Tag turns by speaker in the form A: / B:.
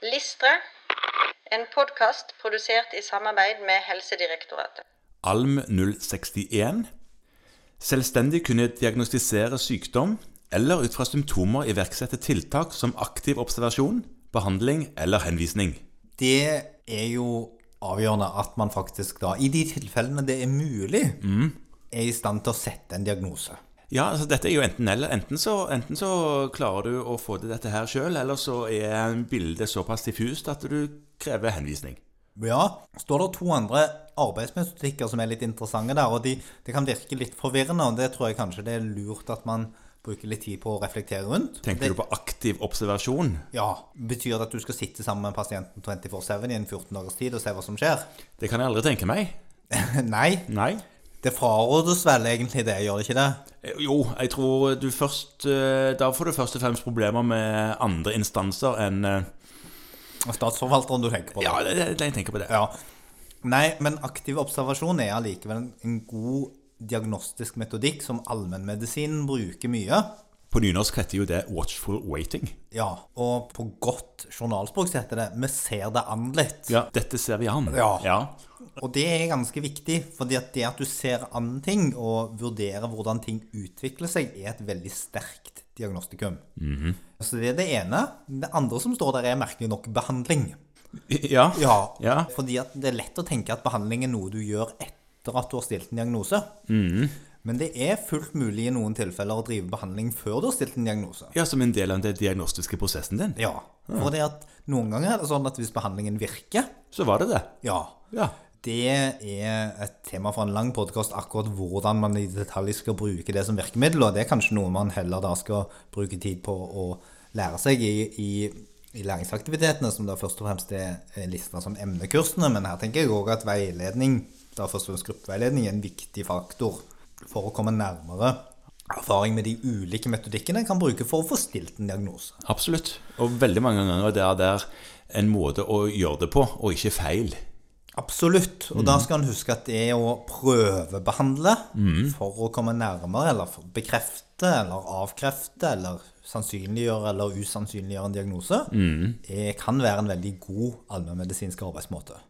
A: Listre, en podkast produsert i samarbeid med Helsedirektoratet.
B: ALM 061. Selvstendig kunne diagnostisere sykdom eller ut fra symptomer iverksette tiltak som aktiv observasjon, behandling eller henvisning.
C: Det er jo avgjørende at man faktisk da, i de tilfellene det er mulig, er i stand til å sette en diagnose.
B: Ja, altså dette er jo enten eller. Enten så, enten så klarer du å få til dette her sjøl, eller så er bildet såpass diffust at du krever henvisning.
C: Ja, står det to andre arbeidsmetodikker som er litt interessante der, og de, det kan virke litt forvirrende, og det tror jeg kanskje det er lurt at man bruker litt tid på å reflektere rundt.
B: Tenker
C: det,
B: du på aktiv observasjon?
C: Ja, betyr det at du skal sitte sammen med pasienten 24-7 i en 14 dagers tid og se hva som skjer?
B: Det kan jeg aldri tenke meg.
C: Nei,
B: Nei.
C: det frarådes vel egentlig det, gjør det ikke det?
B: Eh, Jo, jeg tror du først eh, Da får du først og fremst problemer med andre instanser enn eh,
C: Statsforvalteren du tenker på? da.
B: Ja, det, det, jeg tenker på det.
C: Ja. Nei, men aktiv observasjon er allikevel en, en god diagnostisk metodikk som allmennmedisinen bruker mye.
B: På nynorsk heter jo det 'watchful waiting'.
C: Ja, og på godt journalspråk så heter det 'vi ser det an litt'.
B: Ja. Dette ser vi an.
C: Ja.
B: ja.
C: Og det er ganske viktig, fordi at det at du ser an ting og vurderer hvordan ting utvikler seg, er et veldig sterkt diagnostikum. Så det er det ene. Det andre som står der, er merkelig nok behandling.
B: Ja.
C: Ja,
B: Ja.
C: fordi at det er lett å tenke at behandling er noe du gjør etter at du har stilt en diagnose. Men det er fullt mulig i noen tilfeller å drive behandling før du har stilt en diagnose.
B: Ja, som en del av den diagnostiske prosessen din.
C: Ja, for det at noen ganger er det sånn at hvis behandlingen virker,
B: Så var det det.
C: ja,
B: Ja.
C: det er et tema for en lang podkast akkurat hvordan man i detalj skal bruke det som virkemiddel, og det er kanskje noe man heller da skal bruke tid på å lære seg i, i, i læringsaktivitetene, som da først og fremst er er lista som emnekursene, men her tenker jeg òg at veiledning, da først og fremst gruppeveiledning, er en viktig faktor for å komme nærmere erfaring med de ulike metodikkene en kan bruke for å få stilt en diagnose.
B: Absolutt. Og veldig mange ganger det er der en måte å gjøre det på, og ikke feil.
C: Absolutt. Og da skal en huske at det er å prøvebehandle for å komme nærmere, eller for- bekrefte eller avkrefte eller sannsynliggjøre eller usannsynliggjøre en diagnose, eh, kan være en veldig god allmennmedisinsk arbeidsmåte.